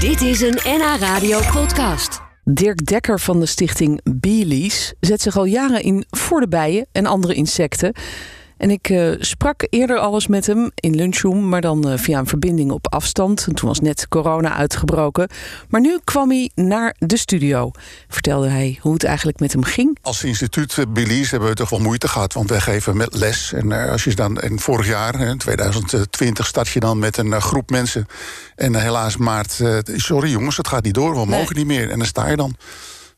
Dit is een NH Radio podcast. Dirk Dekker van de stichting Beelies zet zich al jaren in voor de bijen en andere insecten. En ik eh, sprak eerder alles met hem in lunchroom, maar dan eh, via een verbinding op afstand. En toen was net corona uitgebroken. Maar nu kwam hij naar de studio. Vertelde hij hoe het eigenlijk met hem ging. Als instituut eh, Belize hebben we toch wel moeite gehad. Want wij geven met les. En, eh, als je dan, en vorig jaar, in 2020, start je dan met een eh, groep mensen. En eh, helaas maart, eh, sorry jongens, het gaat niet door. We mogen niet meer. En dan sta je dan.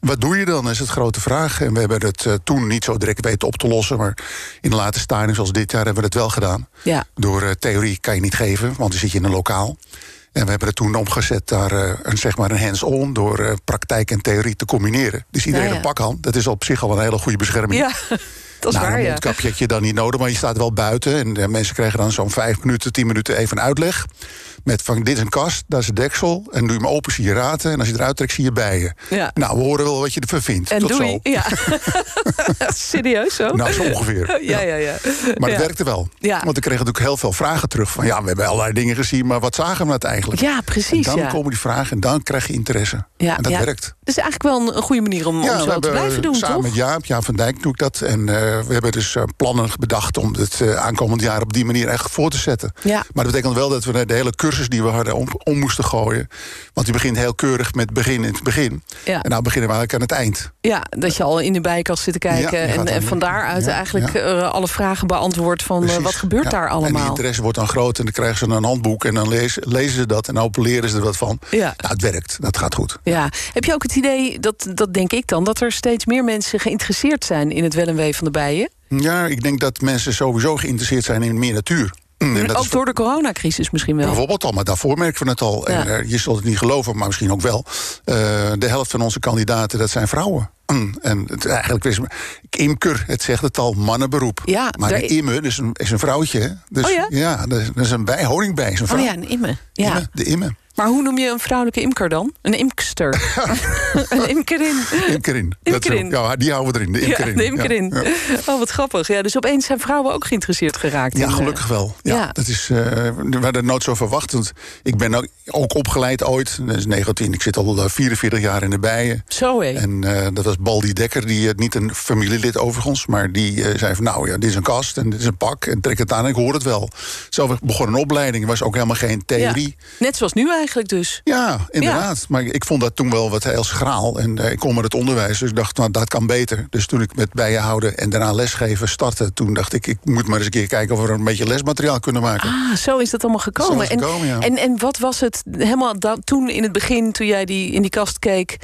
Wat doe je dan, is het grote vraag. En we hebben het eh, toen niet zo direct weten op te lossen. Maar in de late stadium, zoals dit jaar, hebben we het wel gedaan. Ja, Door eh, theorie kan je niet geven, want dan zit je in een lokaal. En we hebben het toen omgezet daar eh, een, zeg maar een hands-on... door eh, praktijk en theorie te combineren. Dus iedereen Ja, ja. een pakhand. Dat is op zich al een hele goede bescherming. ja dat is Nou, waar. een Ja. mondkapje heb je dan niet nodig, maar je staat wel buiten. En eh, mensen krijgen dan zo'n vijf minuten, tien minuten even een uitleg. Met van dit is een kast, dat is een deksel. En doe je hem open, zie je raten. En als je eruit trekt, zie je bijen. Ja. Nou, we horen wel wat je ervan vindt. En Tot doei. zo. Ja. Serieus zo? Nou, zo ongeveer. ja, ja, ja. Maar het Ja. werkte wel. Ja. Want ik kreeg natuurlijk heel veel vragen terug. Van ja, we hebben allerlei dingen gezien, maar wat zagen we nou eigenlijk? Ja, precies. En dan ja. komen die vragen en dan krijg je interesse. Ja, en dat ja. werkt. Dat is eigenlijk wel een, een goede manier om, om we zo te hebben blijven doen, samen toch? met Jaap, Jaap van Dijk doe ik dat. En eh, we hebben dus eh, plannen bedacht om het eh, aankomend jaar op die manier echt voor te zetten. Ja. Maar dat betekent wel dat we de hele cursus die we hadden om, om moesten gooien. Want die begint heel keurig met begin in het begin. Ja. En nou beginnen we eigenlijk aan het eind. Ja, dat je al in de bijkast zit te kijken. Ja, je gaat en, dan- en van daaruit ja, eigenlijk eh, alle vragen beantwoord van eh, wat Precies, gebeurt ja. daar En die allemaal. interesse wordt dan groot en dan krijgen ze een handboek... en dan lezen, lezen ze dat en dan leren ze er wat van. Ja. Nou, het werkt, dat gaat goed. Ja, heb je ook het idee, dat, dat denk ik dan, dat er steeds meer mensen geïnteresseerd zijn in het wel en wee van de bijen? Ja, ik denk dat mensen sowieso geïnteresseerd zijn in meer natuur. Mm, En dat ook is door de coronacrisis misschien wel. bijvoorbeeld al, maar daarvoor merken we het al. Ja. En, eh, je zult het niet geloven, maar misschien ook wel. Eh, de helft van onze kandidaten, dat zijn vrouwen. Mm, En het, eigenlijk is imker, het zegt het al, mannenberoep. Ja, maar daar- een immer is een, is een vrouwtje. hè. Dus, Oh ja? dat is, dat is een bij, honingbij is een vrouw. Oh ja, een imme. Ja. Imme, de immen. Maar hoe noem je een vrouwelijke imker dan? Een imkster. een imkerin. Imkerin. Dat is Imkerin. ook- ja, die houden we erin. De Ja, imkerin. een imkerin. Ja, ja. Oh, wat grappig. Ja, dus opeens zijn vrouwen ook geïnteresseerd geraakt. Ja, in, eh, gelukkig wel. Ja, ja. Dat is, eh, we hadden nooit zo verwacht. Want ik ben ook, ook opgeleid ooit. Dat is 19. Ik zit al eh, 44 jaar in de bijen. Zo hé. En eh, dat was Baldi Dekker, die, eh, niet een familielid overigens... maar die eh, zei van, nou ja, dit is een kast en dit is een pak... en trek het aan en ik hoor het wel. Zo begon een opleiding, er was ook helemaal geen theorie. Ja. Net zoals nu eigenlijk dus. Ja, inderdaad. Maar ik vond dat toen wel wat heel schraal. En eh, ik kom uit het onderwijs, dus ik dacht, nou, dat kan beter. Dus toen ik met bijenhouden en daarna lesgeven startte... toen dacht ik, ik moet maar eens een keer kijken... of we een beetje lesmateriaal kunnen maken. Ah, zo is dat allemaal gekomen. Zo is het gekomen, en, ja. en, en wat was het helemaal da- toen in het begin, toen jij die, in die kast keek,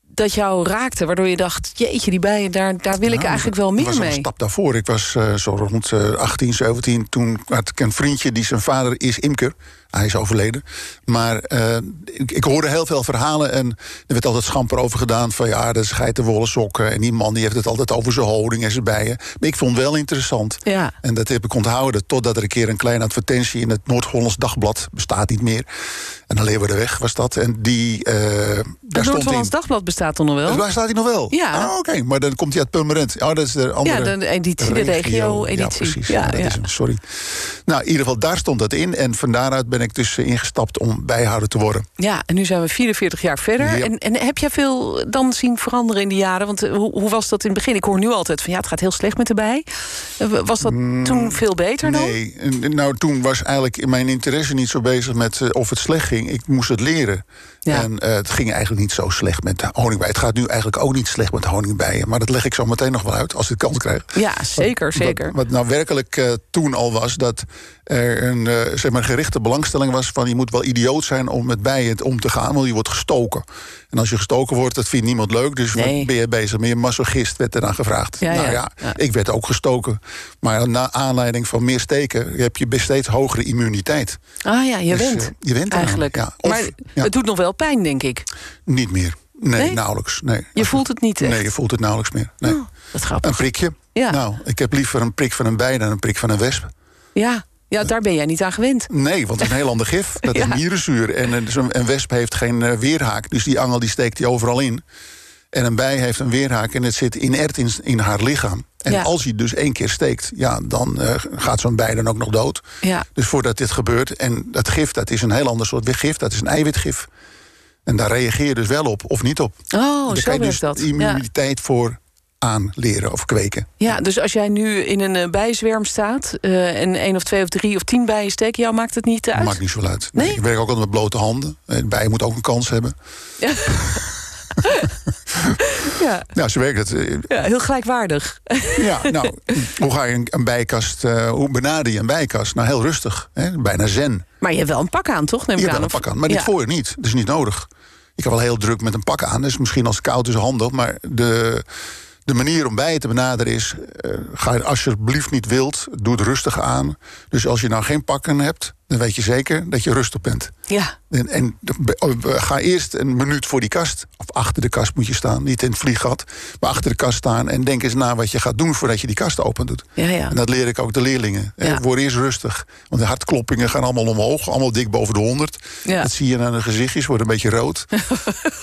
dat jou raakte? Waardoor je dacht, jeetje, die bijen, daar, daar wil ik Ja, eigenlijk wel was meer al een mee. stap daarvoor. Ik was eh, zo rond eh, 18, 17. Toen had ik een vriendje die zijn vader is imker. Hij is overleden. Maar eh, ik, ik hoorde heel veel verhalen. En er werd altijd schamper over gedaan. Van ja, dat is geitenwolle sokken. En die man die heeft het altijd over zijn houding en zijn bijen. Maar ik vond het wel interessant. Ja. En dat heb ik onthouden totdat er een keer een kleine advertentie... in het Noord-Hollands Dagblad, bestaat niet meer. En dan de weg was dat. En die, eh, daar Het stond in... Noord-Hollands Dagblad bestaat dan nog Dus wel. waar staat hij nog wel? Ja. Ah, oké. Maar dan komt hij uit Purmerend. Oh, dat is de andere Ja, eh, de editie, de regio-editie. Ja, precies. Ja, Ja, dat ja. is hem. Sorry. Nou, in ieder geval, daar stond dat in. En van daaruit ben ik dus eh, ingestapt om bijhouder te worden. Ja, en nu zijn we 44 jaar verder. Ja. En, en heb jij veel dan zien veranderen in die jaren? Want eh, hoe, hoe was dat in het begin? Ik hoor nu altijd van ja, het gaat heel slecht met de bij. Eh, Was dat toen veel beter dan? Mm. Nee, en- en nou toen was eigenlijk mijn interesse niet zo bezig met eh, of het slecht ging. Ik moest het leren. Ja. En eh, het ging eigenlijk niet zo slecht met de honingbijen. Het gaat nu eigenlijk ook niet slecht met honingbijen. Maar dat leg ik zo meteen nog wel uit als ik kans krijg. Ja, zeker, zeker. Wat, wat nou werkelijk eh, toen al was, dat er een eh, zeg maar gerichte belangstelling was van je moet wel idioot zijn om met bijen het om te gaan, want je wordt gestoken. En als je gestoken wordt, dat vindt niemand leuk, dus Nee. wat ben je bezig? Ben je masochist, werd eraan gevraagd. Ja, nou ja, ja, ja. ik werd ook gestoken. Maar na aanleiding van meer steken heb je steeds hogere immuniteit. Ah ja, je Dus, wint. eh, je wint eraan, eigenlijk. ja. Of- maar ja. het doet nog wel pijn, denk ik. Niet meer. Nee, Nee? nauwelijks. Nee. Je voelt het niet echt. Nee, je voelt het nauwelijks meer. Nee. Oh, dat is grappig. Een prikje. Ja. Nou, ik heb liever een prik van een bij dan een prik van een wesp. Ja. ja, daar ben jij niet aan gewend. Nee, want het is een heel ander gif. Dat Ja. is mierenzuur. En eh, dus een, zo'n- een wesp heeft geen eh, weerhaak. Dus die angel die steekt die overal in. En een bij heeft een weerhaak en het zit inert in, in haar lichaam. En Ja. als hij dus één keer steekt, ja, dan eh, gaat zo'n bij dan ook nog dood. Ja. Dus voordat dit gebeurt, en dat gif, dat is een heel ander soort gif. Dat is een eiwitgif. En daar reageer je dus wel op of niet op. Oh, Dan zo kan je werkt dus dat. die immuniteit voor aanleren of kweken. Ja, dus als jij nu in een eh, bijzwerm staat eh, en één of twee of drie of tien bijen steken, jou maakt het niet uit. Maakt niet zoveel uit. Nee? Ik werk ook altijd met blote handen. Eh, Bij moet ook een kans hebben. Ja. ja. Nou, ze werkt het. eh, ja, heel gelijkwaardig. Ja, nou, hoe ga je een, een bijkast, eh, hoe benader je een bijkast? Nou, heel rustig, hè? bijna zen. Maar je hebt wel een pak aan, toch? Neem Je ik hebt wel aan, een of- pak aan, maar dit Ja. voor je niet. Dat is niet nodig. Ik heb wel heel druk met een pak aan, dus misschien als het koud is handig. Maar de, de manier om bijen te benaderen is, eh, ga je alsjeblieft niet wild, doe het rustig aan. Dus als je nou geen pakken hebt, dan weet je zeker dat je rustig bent. Ja. En, en de- be- oh, be- ga eerst een minuut voor die kast. Of achter de kast moet je staan. Niet in het vlieggat. Maar achter de kast staan. En denk eens na wat je gaat doen voordat je die kast open doet. Ja, ja. En dat leer ik ook de leerlingen. Eh, Ja. Word eerst rustig. Want de hartkloppingen gaan allemaal omhoog. Allemaal dik boven de 100. Ja. Dat zie je aan de gezichtjes. Wordt een beetje rood.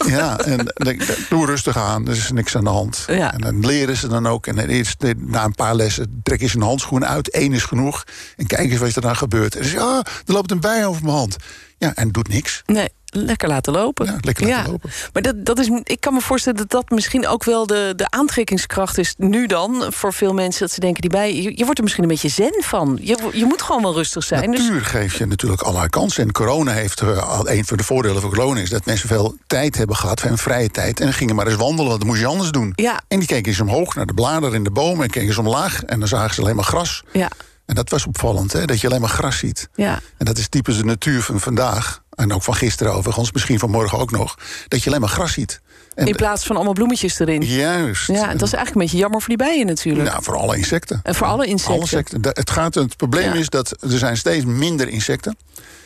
ja, en denk, doe rustig aan. Er is niks aan de hand. Ja. En dan leren ze dan ook. En dan eerst, eh, na een paar lessen trek eens een handschoen uit. Eén is genoeg. En kijk eens wat er dan gebeurt. En dan zeg je, ah, er loopt een bij over mijn hand. Ja, en doet niks. Nee, lekker laten lopen. Ja, lekker laten lopen. Maar dat, dat is, ik kan me voorstellen dat dat misschien ook wel de, de aantrekkingskracht is nu dan. Voor veel mensen dat ze denken, die bij, je, je wordt er misschien een beetje zen van. Je, wo- je moet gewoon wel rustig zijn. Dus, Natuur geeft je natuurlijk allerlei kansen. En corona heeft, eh, al- een van de voordelen van corona is dat mensen veel tijd hebben gehad, en vrije tijd. En gingen maar eens wandelen, dat moest je anders doen. ja, En die keken eens omhoog naar de bladeren in de bomen en keken ze omlaag. En dan zagen ze alleen maar gras. ja, En dat was opvallend, hè? dat je alleen maar gras ziet. ja. En dat is typisch de natuur van vandaag. En ook van gisteren overigens, misschien vanmorgen ook nog. Dat je alleen maar gras ziet. En In plaats van allemaal bloemetjes erin. juist. Ja, dat is eigenlijk een beetje jammer voor die bijen natuurlijk. Nou, voor alle insecten. en voor alle insecten. Alle secten. Da- Het, gaat, het probleem Ja. is dat er zijn steeds minder insecten.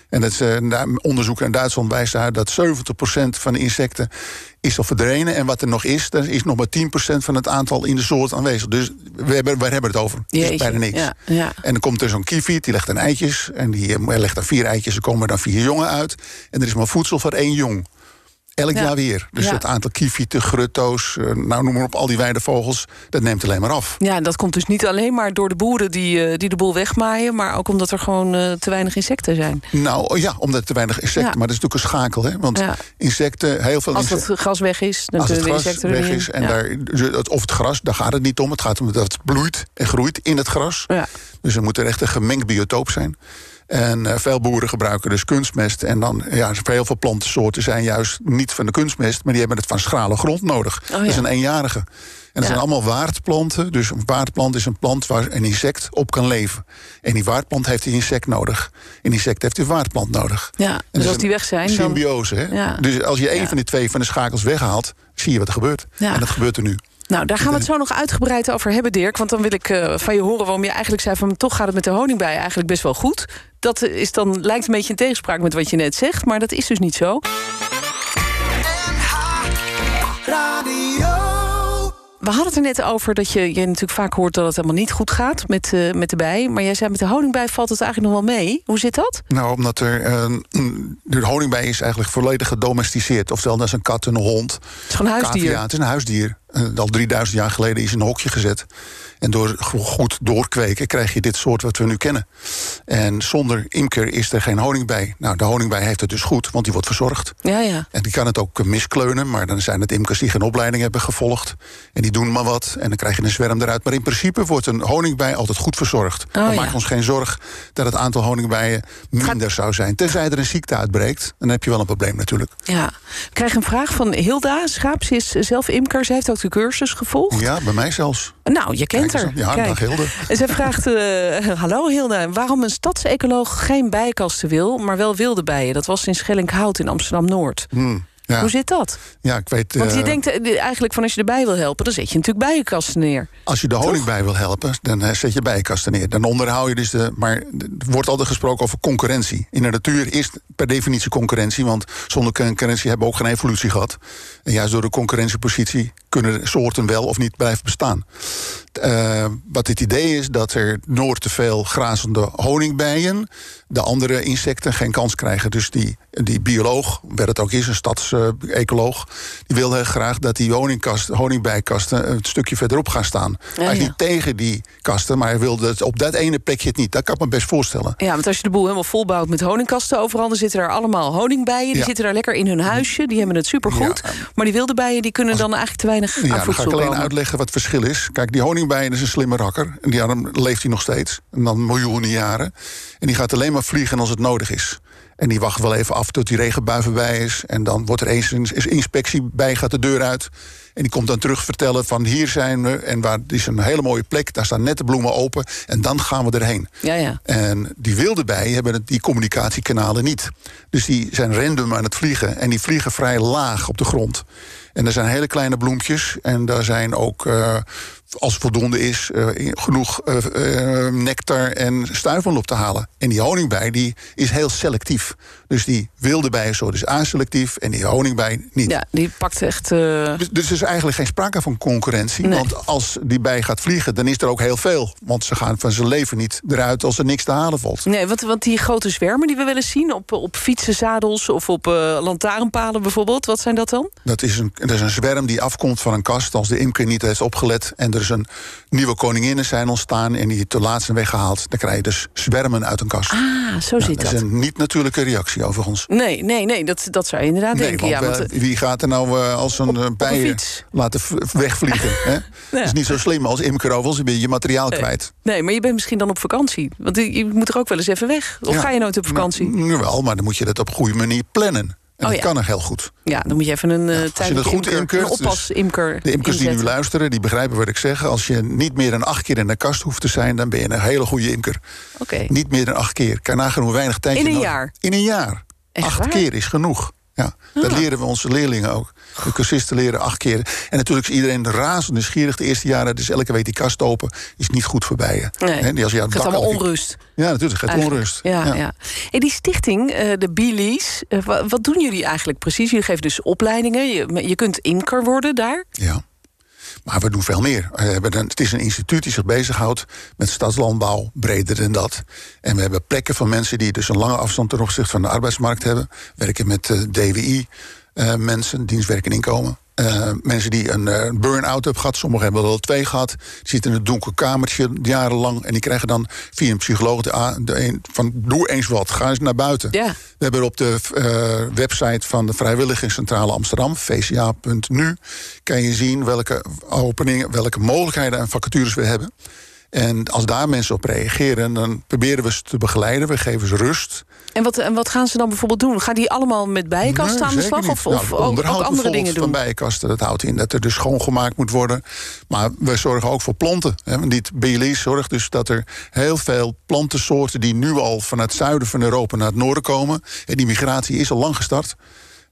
En dat is, eh, na- onderzoek in Duitsland wijst uit dat 70% van de insecten is al verdwenen. En wat er nog is, er is nog maar 10% van het aantal in de soort aanwezig. Dus we hebben, we hebben het over. Het Jeetje, is bijna niks. Ja, ja. En dan komt er zo'n kieviet, die legt dan eitjes. En die eh, legt dan vier eitjes, er komen er dan vier jongen uit. En er is maar voedsel voor één jong. Elk Ja. jaar weer. Dus Ja. het aantal kievieten, grutto's, eh, nou noem maar op, al die weidevogels... dat neemt alleen maar af. Ja, en dat komt dus niet alleen maar door de boeren die, eh, die de boel wegmaaien... maar ook omdat er gewoon eh, te weinig insecten zijn. Nou oh ja, omdat er te weinig insecten. Ja. Maar dat is natuurlijk een schakel, hè? Want Ja. insecten, heel veel Als insecten. het gras weg is, dan Als het kunnen de gras insecten er weg weer in. is en ja. daar, dus het- of het gras, daar gaat het niet om. Het gaat om dat het bloeit en groeit in het gras. Ja. Dus er moet er echt een gemengd biotoop zijn. En eh, veel boeren gebruiken dus kunstmest. En dan, ja, heel veel plantensoorten zijn juist niet van de kunstmest, maar die hebben het van schrale grond nodig. Oh ja. Dat is een eenjarige. En dat Ja. zijn allemaal waardplanten. Dus een waardplant is een plant waar een insect op kan leven. En die waardplant heeft een insect nodig. Een insect heeft een waardplant nodig. Ja, dat dus is als een die weg zijn, dan... Symbiose, hè? Ja. Dus als je één Ja. van die twee van de schakels weghaalt, zie je wat er gebeurt. Ja. En dat gebeurt er nu. Nou, daar gaan we het zo nog uitgebreid over hebben, Dirk. Want dan wil ik eh, van je horen waarom je eigenlijk zei... van toch gaat het met de honingbij eigenlijk best wel goed. Dat is dan, lijkt een beetje in tegenspraak met wat je net zegt... maar dat is dus niet zo. We hadden het er net over dat je, je natuurlijk vaak hoort... dat het helemaal niet goed gaat met, eh, met de bij. Maar jij zei met de honingbij valt het eigenlijk nog wel mee. Hoe zit dat? Nou, omdat er. eh, mm, de honingbij is eigenlijk volledig gedomesticeerd. Oftewel, dat is een kat en een hond. Het is gewoon een huisdier. Cavia, het is een huisdier. Eh, al 3000 jaar geleden is in een hokje gezet. En door go- goed doorkweken krijg je dit soort wat we nu kennen. En zonder imker is er geen honingbij. Nou, de honingbij heeft het dus goed, want die wordt verzorgd. Ja, ja. En die kan het ook eh, miskleunen, maar dan zijn het imkers die geen opleiding hebben gevolgd. En die doen maar wat en dan krijg je een zwerm eruit. Maar in principe wordt een honingbij altijd goed verzorgd. we Oh, ja. maken ons geen zorg dat het aantal honingbijen minder zou zijn. Tenzij er een ziekte uitbreekt, dan heb je wel een probleem natuurlijk. Ja. Ik krijg een vraag van Hilda Schaap. Ze is zelf imker. Ze heeft ook de cursus gevolgd. Ja, bij mij zelfs. Nou, je kent Kijk eens haar. aan. Ja, Kijk. dag Hilde. En zij vraagt, eh, hallo Hilda, waarom een stadsecoloog geen bijkasten wil... maar wel wilde bijen? Dat was in Schellinghout in Amsterdam-Noord. Hmm, ja. Hoe zit dat? ja, ik weet. Want je eh, denkt eh, eigenlijk van als je erbij wil helpen... dan zet je natuurlijk bijenkasten neer. Als je de honingbij wil helpen, dan eh, zet je bijenkasten neer. Dan onderhoud je dus de. Maar er wordt altijd gesproken over concurrentie. In de natuur is per definitie concurrentie, want zonder concurrentie hebben we ook geen evolutie gehad. En juist door de concurrentiepositie kunnen soorten wel of niet blijven bestaan. Eh, wat het idee is dat er noord te veel grazende honingbijen, de andere insecten geen kans krijgen. Dus die, die bioloog, werd het ook is, een stadsecoloog, die wil heel graag dat die honingkast, honingbijkasten een stukje verderop gaan staan. hij is ja. niet tegen die kasten, maar hij wilde het op dat ene plekje het niet. Dat kan ik me best voorstellen. Ja, want als je de boel helemaal volbouwt met honingkasten overal... dan zitten daar allemaal honingbijen. Die Ja. zitten daar lekker in hun huisje. Die hebben het supergoed. Ja. Maar die wilde bijen die kunnen dan eigenlijk te weinig aan Ja, dan ga voedsel ik alleen komen. uitleggen wat het verschil is. Kijk, die honingbij is een slimme rakker. En daarom leeft hij nog steeds. En dan miljoenen jaren. En die gaat alleen maar vliegen als het nodig is. En die wacht wel even af tot die regenbui voorbij is. En dan wordt er eens een is inspectie bij, gaat de deur uit. En die komt dan terug vertellen van hier zijn we. En waar, dit is een hele mooie plek, daar staan net de bloemen open. En dan gaan we erheen. Ja, ja. En die wilde bijen hebben het- die communicatiekanalen niet. Dus die zijn random aan het vliegen. En die vliegen vrij laag op de grond. En er zijn hele kleine bloempjes. En daar zijn ook, eh, als het voldoende is, eh, genoeg eh, eh, nectar en stuivel op te halen. En die honingbij die is heel selectief. Dus die wilde bijen zo, dus aselectief. En die honingbij niet. Ja, die pakt echt... eh, Dus, dus er is eigenlijk geen sprake van concurrentie. Nee. Want als die bij gaat vliegen, dan is er ook heel veel. Want ze gaan van zijn leven niet eruit als er niks te halen valt. Nee, want, want die grote zwermen die we wel eens zien... op, op fietsenzadels of op eh, lantaarnpalen bijvoorbeeld... wat zijn dat dan? Dat is, een, dat is een zwerm die afkomt van een kast als de imker niet heeft opgelet. En er is een nieuwe koninginnen zijn ontstaan en die te laatst zijn weggehaald. Dan krijg je dus zwermen uit een kast. Ah, zo Ja, zit dat dat. is een niet-natuurlijke reactie overigens. Nee, nee, nee, dat, dat zou je inderdaad Nee, denken. want Ja, want, eh, eh, wie gaat er nou eh, als een eh, op een bijen fiets. laten v- wegvliegen? hè? Dat is niet zo slim als imker overigens, dan ben je je materiaal Nee. eh, kwijt. eh, Nee, maar je bent misschien dan op vakantie. Want je je moet er ook wel eens even weg. Of Ja. ga je nooit op vakantie? Nou, Nu wel, maar dan moet je dat op een goede manier plannen. Oh, En dat ja. kan nog heel goed. Ja, dan moet je even een eh je tijdelijke dat goed imker, inkurt, een dus oppas-imker De imkers die nu inzetten. luisteren, die begrijpen wat ik zeg. Als je niet meer dan acht keer in de kast hoeft te zijn, dan ben je een hele goede imker. Oké. Niet meer dan acht keer. Kan nagenoeg hoe weinig tijd In je een nodig- jaar? In een jaar. Echt acht waar? keer is genoeg. Ja, dat Ah. leren we onze leerlingen ook. De cursisten leren acht keer. En natuurlijk is iedereen razend nieuwsgierig de eerste jaren. Dus elke week die kast open is niet goed voor bijen. Nee. Hè, die als je aan Het het gaat bakken- allemaal onrust. Ja, natuurlijk. Het gaat eigenlijk. onrust. Ja, ja. Hey, die stichting, eh, de Bilies, eh, wa- wat doen jullie eigenlijk precies? Jullie geven dus opleidingen. Je, je kunt imker worden daar. Ja. Maar we doen veel meer. We hebben een- het is een instituut die zich bezighoudt met stadslandbouw, breder dan dat. En we hebben plekken van mensen die dus een lange afstand ten opzichte van de arbeidsmarkt hebben. Werken met eh, DWI, eh, mensen, dienstwerk en inkomen. Eh, mensen die een eh, burn-out hebben gehad, sommigen hebben er al twee gehad. Die zitten in een donker kamertje jarenlang. En die krijgen dan via een psycholoog de, a- de een, van doe eens wat, ga eens naar buiten. Ja. We hebben op de eh, website van de Vrijwilligerscentrale Amsterdam, vca.nu, kan je zien welke openingen, welke mogelijkheden en vacatures we hebben. En als daar mensen op reageren, dan proberen we ze te begeleiden. We geven ze rust. En wat, en wat gaan ze dan bijvoorbeeld doen? Gaan die allemaal met bijenkasten Nee, aan de zeker slag? niet. Of, Nou, of het ook- ook, onderhoud andere bijvoorbeeld dingen van doen? bijenkasten, dat houdt in dat er dus schoongemaakt moet worden. Maar we zorgen ook voor planten. Hè. Want Dit BLE zorgt dus dat er heel veel plantensoorten... die nu al vanuit het zuiden van Europa naar het noorden komen... en die migratie is al lang gestart...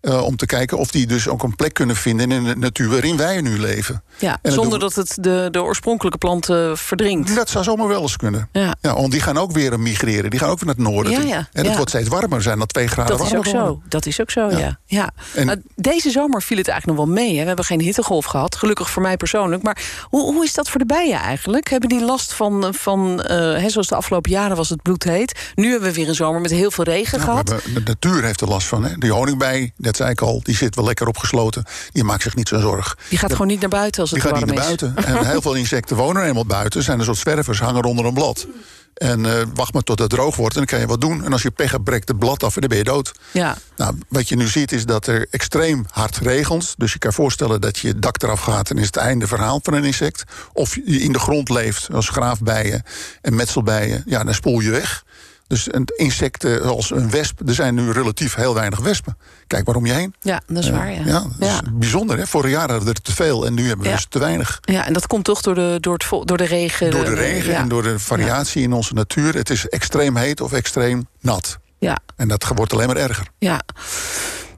eh, om te kijken of die dus ook een plek kunnen vinden in de natuur waarin wij nu leven. Ja, dat zonder doen Nou, dat het de, de oorspronkelijke planten verdrinkt. Dat zou zomaar wel eens kunnen. Ja. Ja, want die gaan ook weer migreren. Die gaan ook weer naar het noorden. Ja, toe. ja, en het ja. wordt steeds warmer. Zijn dat twee graden Dat is ook warmer geworden. zo. Dat is ook zo, ja. ja. En- Nou, deze zomer viel het eigenlijk nog wel mee. Hè. We hebben geen hittegolf gehad, gelukkig voor mij persoonlijk. Maar hoe, hoe is dat voor de bijen eigenlijk? Hebben die last van, eh, van eh, hè, zoals de afgelopen jaren was het bloedheet. Nu hebben we weer een zomer met heel veel regen Ja, gehad. Nou, we hebben- de natuur heeft er last van. Hè? Die honingbij, dat zei ik al, die zit wel lekker opgesloten. Die maakt zich niet zo'n zorg. Die gaat gewoon niet naar buiten als Die het gaat warm niet naar is. buiten. En heel veel insecten wonen er eenmaal buiten. Zijn een soort zwervers, hangen onder een blad. En eh, wacht maar tot het droog wordt en dan kan je wat doen. En als je pech hebt, breekt het blad af en dan ben je dood. Ja, Nou, wat je nu ziet is dat er extreem hard regent. Dus je kan voorstellen dat je dak eraf gaat en is het einde verhaal van een insect. Of je in de grond leeft als graafbijen en metselbijen. Ja, dan spoel je weg. Dus een insecten als een wesp, er zijn nu relatief heel weinig wespen. Kijk maar om je heen. ja dat is waar. Ja. Ja, dus- dat is ja. bijzonder. Hè? Vorig jaar hadden we er te veel en nu hebben we Ja. dus te weinig. Ja, en dat komt toch door de, door het, vo- door de regen. eh, Door de regen ja. en door de variatie in onze natuur. Het is extreem heet of extreem nat. Ja, En dat ge- wordt alleen maar erger. Ja.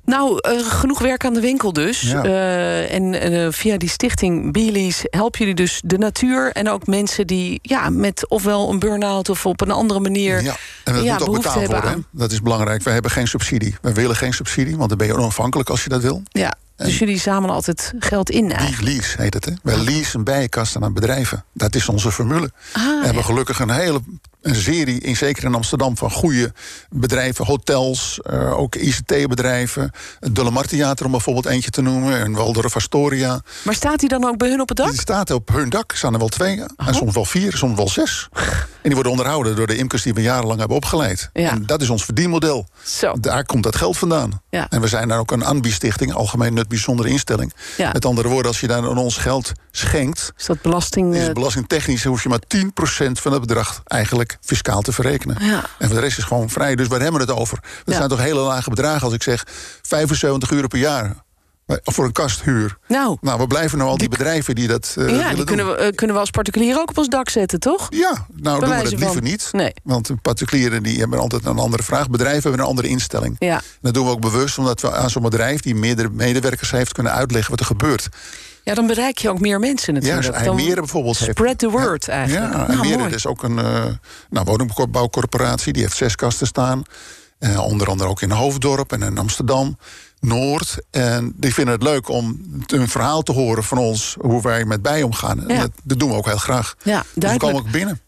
Nou, eh, genoeg werk aan de winkel dus. Ja. Eh, en eh, via die stichting Baileys helpen jullie dus de natuur... en ook mensen die ja, met ofwel een burn-out of op een andere manier... Ja, en dat ja, moet ook behoefte betaald hebben worden. hè. Dat is belangrijk. We hebben geen subsidie. We willen geen subsidie, want dan ben je onafhankelijk als je dat wil. Ja, Dus jullie zamelen altijd geld in eigenlijk. Die lease heet het. Hè? Wij leasen bijenkasten aan bedrijven. Dat is onze formule. Ah, we hebben gelukkig een hele een serie, in, zeker in Amsterdam, van goede bedrijven. Hotels, eh, ook ICT-bedrijven. Het Dullemar Theater, om bijvoorbeeld eentje te noemen. En Waldorf Astoria. Maar staat die dan ook bij hun op het dak? Die staat op hun dak, staan er wel twee. En soms wel vier, soms wel zes. En die worden onderhouden door de imkers die we jarenlang hebben opgeleid. Ja. En dat is ons verdienmodel. Zo. Daar komt dat geld vandaan. Ja. En we zijn daar ook een ANBI-stichting, Algemeen Nut Bijzondere Instelling. Ja. Met andere woorden, als je daar aan ons geld schenkt... Is dat belasting? is eh, het belastingtechnisch hoef je maar 10% van het bedrag eigenlijk fiscaal te verrekenen. Ja. En voor de rest is gewoon vrij. Dus waar hebben we het over? Dat Ja. zijn toch hele lage bedragen als ik zeg 75 euro per jaar Maar voor een kasthuur. nou, Nou, we blijven nou al die bedrijven die dat eh, ja, willen die doen. kunnen we, eh, kunnen we als particulier ook op ons dak zetten, toch? Ja, nou doen we wijze dat liever van- niet. Nee. Want de particulieren die hebben altijd een andere vraag. Bedrijven hebben een andere instelling. Ja. En dat doen we ook bewust, omdat we aan zo'n bedrijf... die meerdere medewerkers heeft, kunnen uitleggen wat er gebeurt. Ja, dan bereik je ook meer mensen Ja, natuurlijk. als dan IJmeren bijvoorbeeld heeft... Spread the word eigenlijk. Ja, nou, en Meren mooi. is ook een eh, nou, woningbouwcorporatie. Die heeft zes kasten staan. Eh, onder andere ook in Hoofddorp en in Amsterdam. Noord. En die vinden het leuk om t- een verhaal te horen van ons... hoe wij met bij omgaan. En Ja. Dat, dat doen we ook heel graag. Ja, dus we duidelijk. komen ook binnen.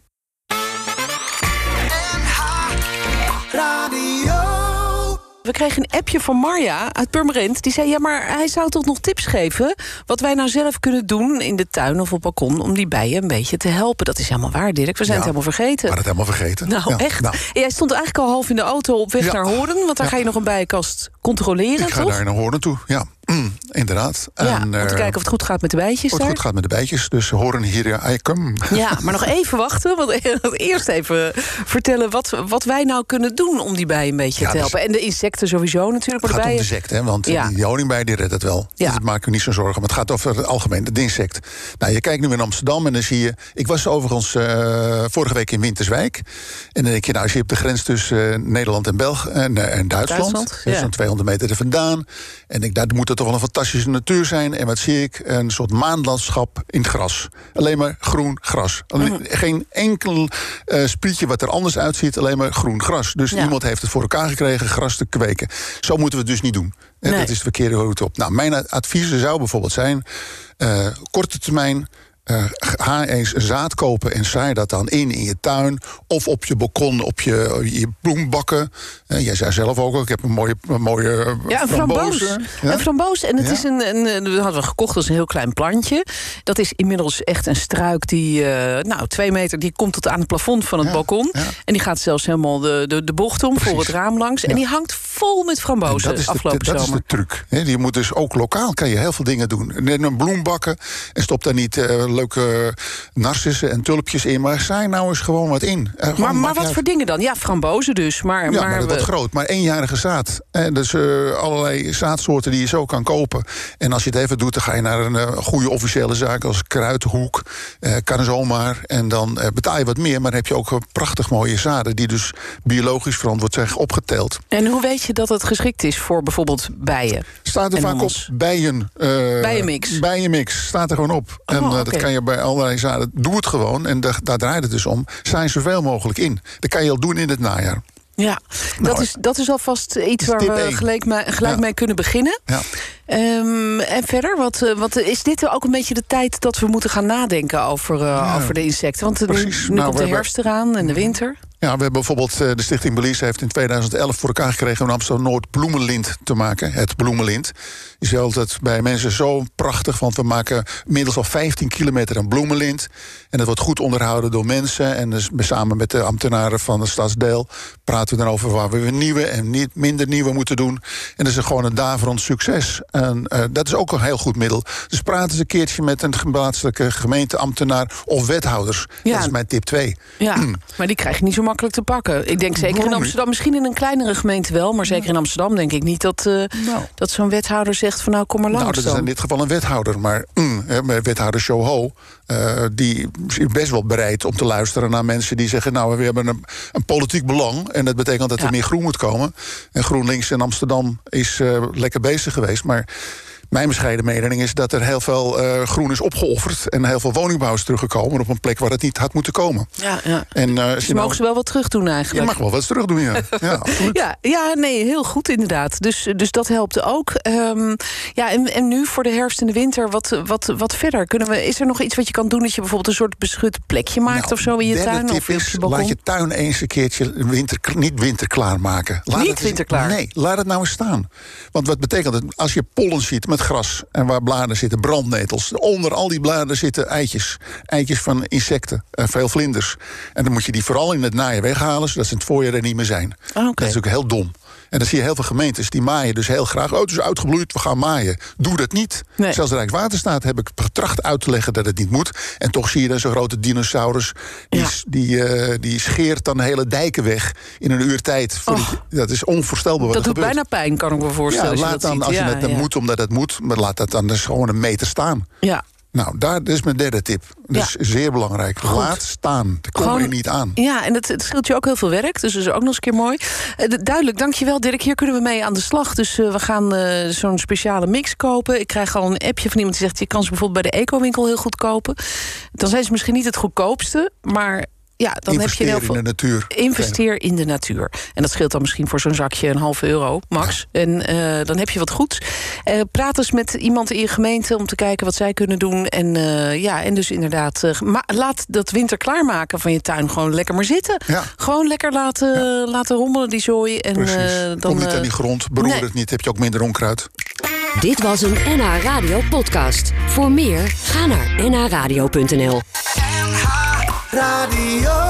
We kregen een appje van Marja uit Purmerend. Die zei, ja, maar hij zou toch nog tips geven... wat wij nou zelf kunnen doen in de tuin of op balkon... om die bijen een beetje te helpen. Dat is helemaal waar, Dirk. We zijn Ja. het helemaal vergeten. We hadden het helemaal vergeten. Nou, Ja, echt. nou, En jij stond eigenlijk al half in de auto op weg Ja. naar Horen... want daar Ja. ga je nog een bijenkast controleren, ik ga toch? daar naar Hoorn toe. Ja, Mm, inderdaad. Ja, om eh, te kijken of het goed gaat met de bijtjes of het daar. goed gaat met de bijtjes. Dus Hoorn hier, eh, I come. Ja, maar nog even wachten. Want eerst even vertellen wat, wat wij nou kunnen doen om die bijen een beetje Ja, te dus- helpen. En de insecten sowieso natuurlijk. Maar de Het gaat om bijen. de sect, hè? want Ja. eh, die honingbij die redt het wel. Ja. Dus dat maak je niet zo'n zorgen. Maar het gaat over het algemeen, het insect. Nou, je kijkt nu in Amsterdam en dan zie je... Ik was overigens eh, vorige week in Winterswijk. En dan denk je, nou, als je op de grens tussen eh, Nederland en, Belg en, eh, en Duitsland... Duitsland, dus ja. zo'n 200 meter er vandaan. En ik daar moet het toch wel een fantastische natuur zijn. En wat zie ik? Een soort maanlandschap in het gras. Alleen maar groen gras. Alleen- Geen enkel eh, sprietje wat er anders uitziet, alleen maar groen gras. Dus Ja. iemand heeft het voor elkaar gekregen gras te kweken. Zo moeten we het dus niet doen. Eh, Nee. Dat is de verkeerde route op. Nou, mijn adviezen zou bijvoorbeeld zijn: eh, korte termijn. eh, ga eens zaad kopen en zaai dat dan in in je tuin. Of op je balkon, op je, je bloembakken. Eh, jij zei zelf ook, al, ik heb een mooie, een mooie eh, Ja, een framboos. framboze. Een framboos. En het Ja. is een, een, eh, dat hadden we gekocht als een heel klein plantje. Dat is inmiddels echt een struik die, eh, nou, twee meter, die komt tot aan het plafond van het Ja, balkon. ja. En die gaat zelfs helemaal de, de, de bocht om, voor het raam langs. En die hangt vol met frambozen dat is eh, afgelopen de, dat zomer. is de truc. hè. je moet dus ook lokaal kan je heel veel dingen doen. Neem een bloembakken en stop daar niet eh, leuke narcissen en tulpjes in. Maar saai nou eens gewoon wat in. Eh, gewoon maar maar maakt wat uit. voor dingen dan? Ja, frambozen dus. Maar, Ja, maar, dat we- wordt groot. Maar eenjarige zaad. En dus eh, allerlei zaadsoorten die je zo kan kopen. En als je het even doet, dan ga je naar een eh, goede officiële zaak... als Kruidhoek, eh kan zomaar. En dan eh, betaal je wat meer, maar dan heb je ook eh, prachtig mooie zaden... die dus biologisch verantwoord zijn opgeteld. En hoe weet je dat het geschikt is voor bijvoorbeeld bijen? Staat er En vaak op hommels. bijen. eh Bijenmix. bijenmix. Staat er gewoon op. en eh, Oh, oké. dat kan je bij allerlei zaden. Doe het gewoon. En daar, daar draait het dus om. Zijn zoveel mogelijk in. Dat kan je al doen in het najaar. Ja, dat, is, dat is alvast iets Nou, is waar tip we één. gelijk, mee, gelijk Ja. mee kunnen beginnen. Ja. Ehm, en verder, wat, eh, wat, is dit ook een beetje de tijd dat we moeten gaan nadenken over, eh, over de insecten? Want eh, nu, Precies. nu komt Nou, we de hebben- Mm. herfst eraan en de winter. Ja, we hebben bijvoorbeeld eh, de Stichting Belize heeft in 2011 voor elkaar gekregen om in Amsterdam Noord bloemenlint te maken. Het bloemenlint is altijd bij mensen zo prachtig, want we maken middels al 15 kilometer aan bloemenlint. En dat wordt goed onderhouden door mensen. En dus samen met de ambtenaren van het stadsdeel praten we dan over waar we weer nieuwe en niet minder nieuwe moeten doen. En dat is gewoon een daverend succes. En eh, dat is ook een heel goed middel. Dus praat eens een keertje met een plaatselijke gemeenteambtenaar of wethouders. Ja. Dat is mijn tip 2. Ja, maar die krijg je niet zo makkelijk te pakken. Ik denk zeker Mm. Waarom in niet? Amsterdam, misschien in een kleinere gemeente wel... maar zeker in Amsterdam denk ik niet dat, eh, dat zo'n wethouder zegt... van nou, kom maar Nou, langs dat is dan. in dit geval een wethouder. Maar mm, hè, maar wethouder Shoho, eh, die is best wel bereid om te luisteren naar mensen die zeggen: Nou, we hebben een, een politiek belang. En dat betekent dat Ja. er meer groen moet komen. En GroenLinks in Amsterdam is eh, lekker bezig geweest. Maar Mijn bescheiden mening is dat er heel veel eh, groen is opgeofferd. En heel veel woningbouw is teruggekomen op een plek waar het niet had moeten komen. Ja, ja. En, eh, als Dus je nou- mogen ze wel wat terug doen je eigenlijk. mag wel wat terug doen, ja. ja, absoluut. Ja, ja, nee, heel goed inderdaad. Dus, dus dat helpt ook. Ehm, ja, en, en nu voor de herfst en de winter, wat, wat, wat verder? Kunnen we, is er nog iets wat je kan doen dat je bijvoorbeeld een soort beschut plekje maakt Nou, of zo in je derde tuin? tip Of op is, je balkon? Laat je tuin eens een keertje winter, niet winterklaar maken. Laat Niet het eens- winterklaar? Nee, laat het nou eens staan. Want wat betekent het? Als je pollen ziet met gras en waar bladeren zitten, brandnetels. Onder al die bladeren zitten eitjes. Eitjes van insecten, eh, veel vlinders. En dan moet je die vooral in het najaar weghalen, zodat ze in het voorjaar er niet meer zijn. Ah, oké. Dat is ook heel dom. En dan zie je heel veel gemeentes die maaien dus heel graag. Oh, het is uitgebloeid, we gaan maaien. Doe dat niet. Nee. Zelfs Rijkswaterstaat heb ik getracht uit te leggen dat het niet moet. En toch zie je dan zo'n grote dinosaurus. Die, Ja. s- die, eh, die scheert dan hele dijken weg in een uur tijd. Voordat je- Dat is onvoorstelbaar wat Dat er doet gebeurt. bijna pijn, kan ik me voorstellen. ja, als je laat dat dan, ziet. als je ja, het dan ja. moet, omdat het moet, maar laat dat dan dus gewoon een meter staan. Ja. Nou, daar, dat is mijn derde tip. Dus zeer belangrijk. Laat staan. Daar kom je Gewoon- niet aan. Ja, en het, het scheelt je ook heel veel werk. Dus dat is ook nog eens een keer mooi. Eh, d- duidelijk, dankjewel Dirk. Hier kunnen we mee aan de slag. Dus eh, we gaan eh, zo'n speciale mix kopen. Ik krijg al een appje van iemand die zegt... je kan ze bijvoorbeeld bij de eco-winkel heel goed kopen. Dan zijn ze misschien niet het goedkoopste. Maar ja, dan heb je Investeer heel in veel... de natuur. Investeer in eh, de natuur. En dat scheelt dan misschien voor zo'n zakje een halve euro, max. En eh, dan heb je wat goeds. Eh, praat eens met iemand in je gemeente om te kijken wat zij kunnen doen. En, eh, ja, en dus inderdaad, eh, ma- laat dat winter klaarmaken van je tuin gewoon lekker maar zitten. Ja. Gewoon lekker laten, laten rommelen, die zooi. En, Precies. eh, dan, Kom niet eh, aan die grond. Beroer nee. het niet. Heb je ook minder onkruid. Dit was een NH Radio podcast. Voor meer, ga naar nhradio.nl. Radio.